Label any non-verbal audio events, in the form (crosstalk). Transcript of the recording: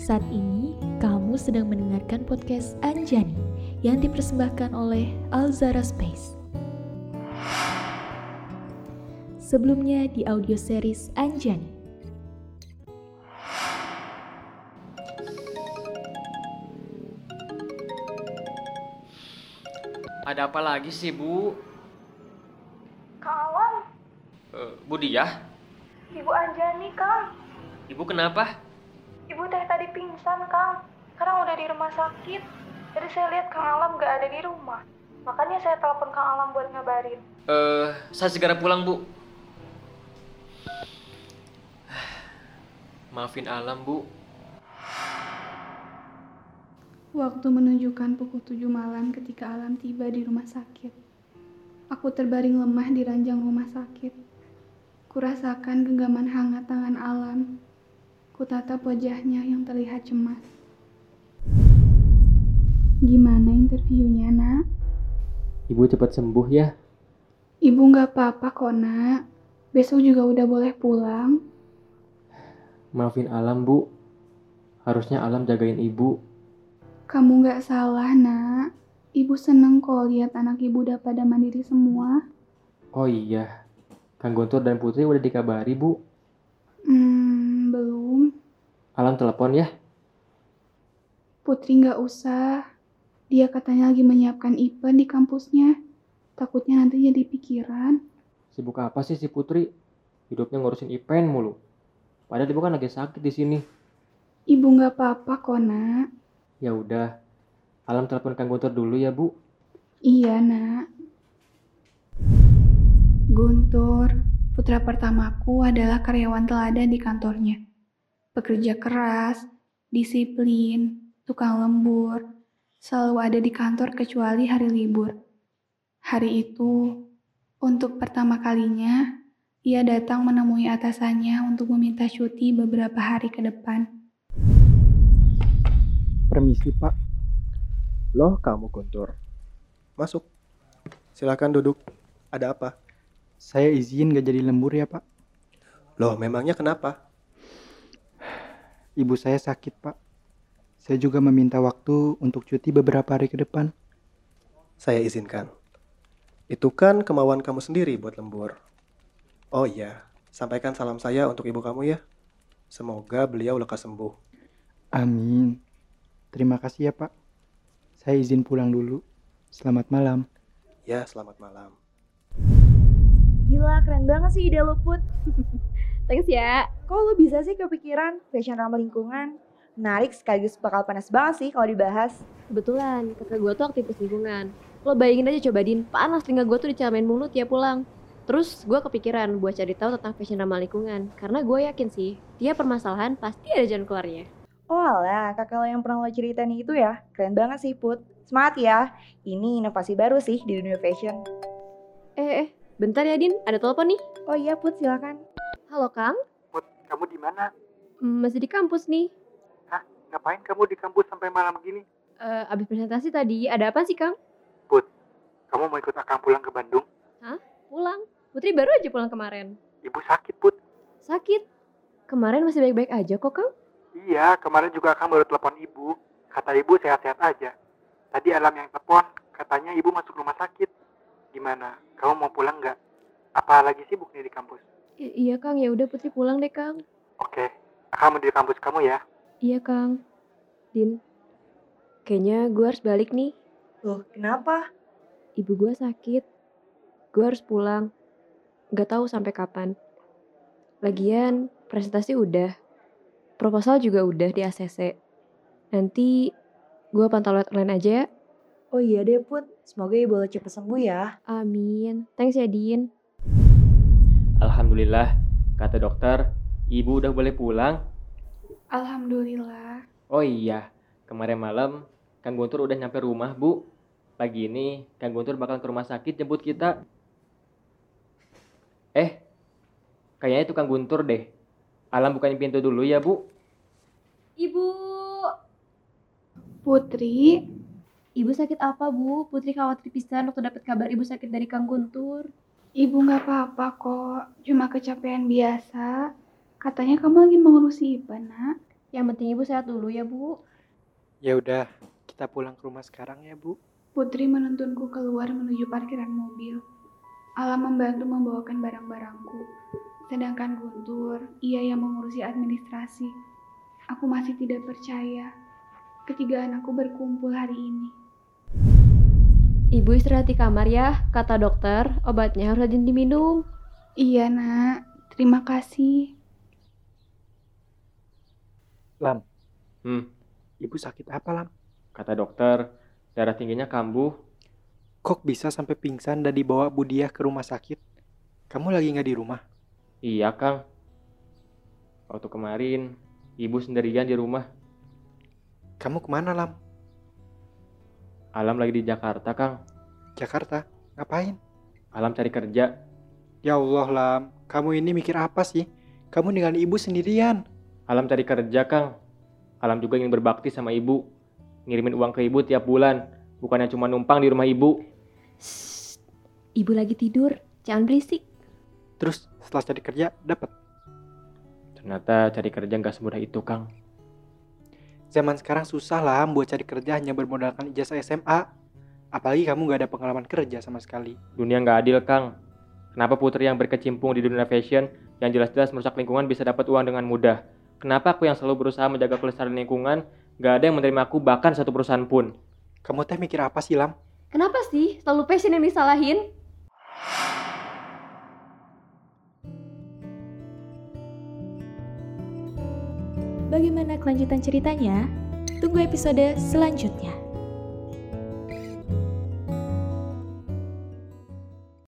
Saat ini, kamu sedang mendengarkan podcast Anjani yang dipersembahkan oleh Alzara Space. Sebelumnya di audio series Anjani. Ada apa lagi sih, Bu? Kang Awan, Eh, Bu Diah? Ibu Anjani, Kang. Ibu kenapa? Ibu teh tadi pingsan, Kang. Sekarang udah di rumah sakit. Jadi saya lihat Kang Alam gak ada di rumah. Makanya saya telepon Kang Alam buat ngabarin. Eh, saya segera pulang, Bu. (sighs) Maafin alam, Bu. Waktu menunjukkan pukul 7 malam ketika Alam tiba di rumah sakit. Aku terbaring lemah di ranjang rumah sakit. Kurasakan genggaman hangat tangan Alam. Kutatap wajahnya yang terlihat cemas. Gimana interviewnya, nak? Ibu cepat sembuh ya. Ibu nggak apa-apa kok, nak. Besok juga udah boleh pulang. Maafin alam, Bu. Harusnya alam jagain Ibu. Kamu nggak salah, nak. Ibu seneng kok lihat anak ibu udah pada mandiri semua. Oh iya. Kang Guntur dan Putri udah dikabari, Bu. Hmm, belum. Alam telepon ya. Putri nggak usah. Dia katanya lagi menyiapkan event di kampusnya. Takutnya nanti jadi pikiran. Sibuk apa sih si Putri? Hidupnya ngurusin Ipen mulu. Padahal Ibu kan lagi sakit di sini. Ibu nggak apa-apa kok, nak. Ya udah. Alam telepon Kang Guntur dulu ya, Bu. Iya, nak. Guntur, putra pertamaku adalah karyawan teladan di kantornya. Pekerja keras, disiplin, tukang lembur, selalu ada di kantor kecuali hari libur. Hari itu, untuk pertama kalinya, ia datang menemui atasannya untuk meminta cuti beberapa hari ke depan. Permisi, Pak. Loh, kamu Guntur. Masuk. Silakan duduk. Ada apa? Saya izin gak jadi lembur ya, Pak. Loh, memangnya kenapa? Ibu saya sakit, Pak. Saya juga meminta waktu untuk cuti beberapa hari ke depan. Saya izinkan. Itu kan kemauan kamu sendiri buat lembur. Oh iya, sampaikan salam saya untuk ibu kamu ya. Semoga beliau lekas sembuh. Amin. Terima kasih ya, Pak. Saya izin pulang dulu. Selamat malam. Ya, selamat malam. Gila, keren banget sih ide lo, Put. (laughs) Thanks ya. Kok lo bisa sih kepikiran fashion ramah lingkungan? Menarik sekaligus bakal panas banget sih kalau dibahas. Kebetulan, kakak gue tuh aktivis lingkungan. Lo bayangin aja coba Din, panas telinga gue tuh dicamain mulu tiap pulang. Terus gue kepikiran buat cari tahu tentang fashion ramah lingkungan. Karena gue yakin sih, tiap permasalahan pasti ada jalan keluarnya. Oh alah, kakak lo yang pernah lo ceritain itu ya. Keren banget sih, Put. Semangat ya. Ini inovasi baru sih di dunia fashion. Eh, eh, bentar ya Din, ada telepon nih. Oh iya, Put, silakan. Halo Kang, Put, kamu di mana? Hmm, masih di kampus nih. Ngapain kamu di kampus sampai malam gini? Eh, abis presentasi tadi, ada apa sih Kang? Kamu mau ikut akang pulang ke Bandung? Pulang. Putri baru aja pulang kemarin. Ibu sakit, Put. Sakit. Kemarin masih baik-baik aja kok Kang. Iya, kemarin juga akang baru telepon ibu. Kata ibu sehat-sehat aja. Tadi alam yang telepon, katanya ibu masuk rumah sakit. Gimana? Kamu mau pulang nggak? Apa lagi sibuk nih di kampus? I- iya Kang, ya udah Putri pulang deh Kang. Oke, akang mau di kampus kamu ya. Iya Kang. Din, kayaknya gue harus balik nih. Loh, kenapa? Ibu gue sakit. Gue harus pulang. Gak tahu sampai kapan. Lagian, presentasi udah. Proposal juga udah di ACC. Nanti gue pantau lewat online aja ya. Oh iya deh, Put. Semoga ibu lo cepet sembuh ya. Amin. Thanks ya, Din. Alhamdulillah, kata dokter, ibu udah boleh pulang. Alhamdulillah. Oh iya, kemarin malam Kang Guntur udah nyampe rumah, Bu. Pagi ini Kang Guntur bakal ke rumah sakit jemput kita. Eh, kayaknya itu Kang Guntur deh. Alam bukain pintu dulu ya, Bu. Ibu. Putri, Ibu sakit apa, Bu? Putri khawatir pisan waktu dapat kabar ibu sakit dari Kang Guntur. ibu nggak apa-apa kok. Cuma kecapean biasa. Katanya kamu lagi mengurusi Iban, nak. Yang penting ibu sehat dulu ya bu. Ya udah, kita pulang ke rumah sekarang ya, Bu. Putri menuntunku keluar menuju parkiran mobil. Alam membantu membawakan barang-barangku. Sedangkan Guntur, ia yang mengurusi administrasi. Aku masih tidak percaya. Ketiga anakku berkumpul hari ini. Ibu istirahat di kamar ya, kata dokter. Obatnya harus rajin diminum. Iya, Nak. Terima kasih. Lam, Hmm, ibu sakit apa, Lam? kata dokter, darah tingginya kambuh. Kok bisa sampai pingsan dan dibawa Bu Diah ke rumah sakit? Kamu lagi nggak di rumah? Iya, Kang. Waktu kemarin, ibu sendirian di rumah. Kamu kemana, Lam? Alam lagi di Jakarta, Kang. Jakarta? Ngapain? Alam cari kerja. Ya Allah, Lam. Kamu ini mikir apa sih? Kamu dengan ibu sendirian. Alam cari kerja, Kang. Alam juga ingin berbakti sama ibu. Ngirimin uang ke ibu tiap bulan. Bukannya cuma numpang di rumah ibu. Shh, ibu lagi tidur, jangan berisik. Terus setelah cari kerja, dapat. Ternyata cari kerja nggak semudah itu, Kang. Zaman sekarang susah, Lam, buat cari kerja hanya bermodalkan ijazah SMA. Apalagi kamu nggak ada pengalaman kerja sama sekali. Dunia nggak adil, Kang. Kenapa putri yang berkecimpung di dunia fashion yang jelas-jelas merusak lingkungan bisa dapat uang dengan mudah? Kenapa aku yang selalu berusaha menjaga kelestarian lingkungan, nggak ada yang menerima aku bahkan satu perusahaan pun? Kamu teh mikir apa sih, Lam? Kenapa sih selalu passion yang disalahin? Bagaimana kelanjutan ceritanya? Tunggu episode selanjutnya.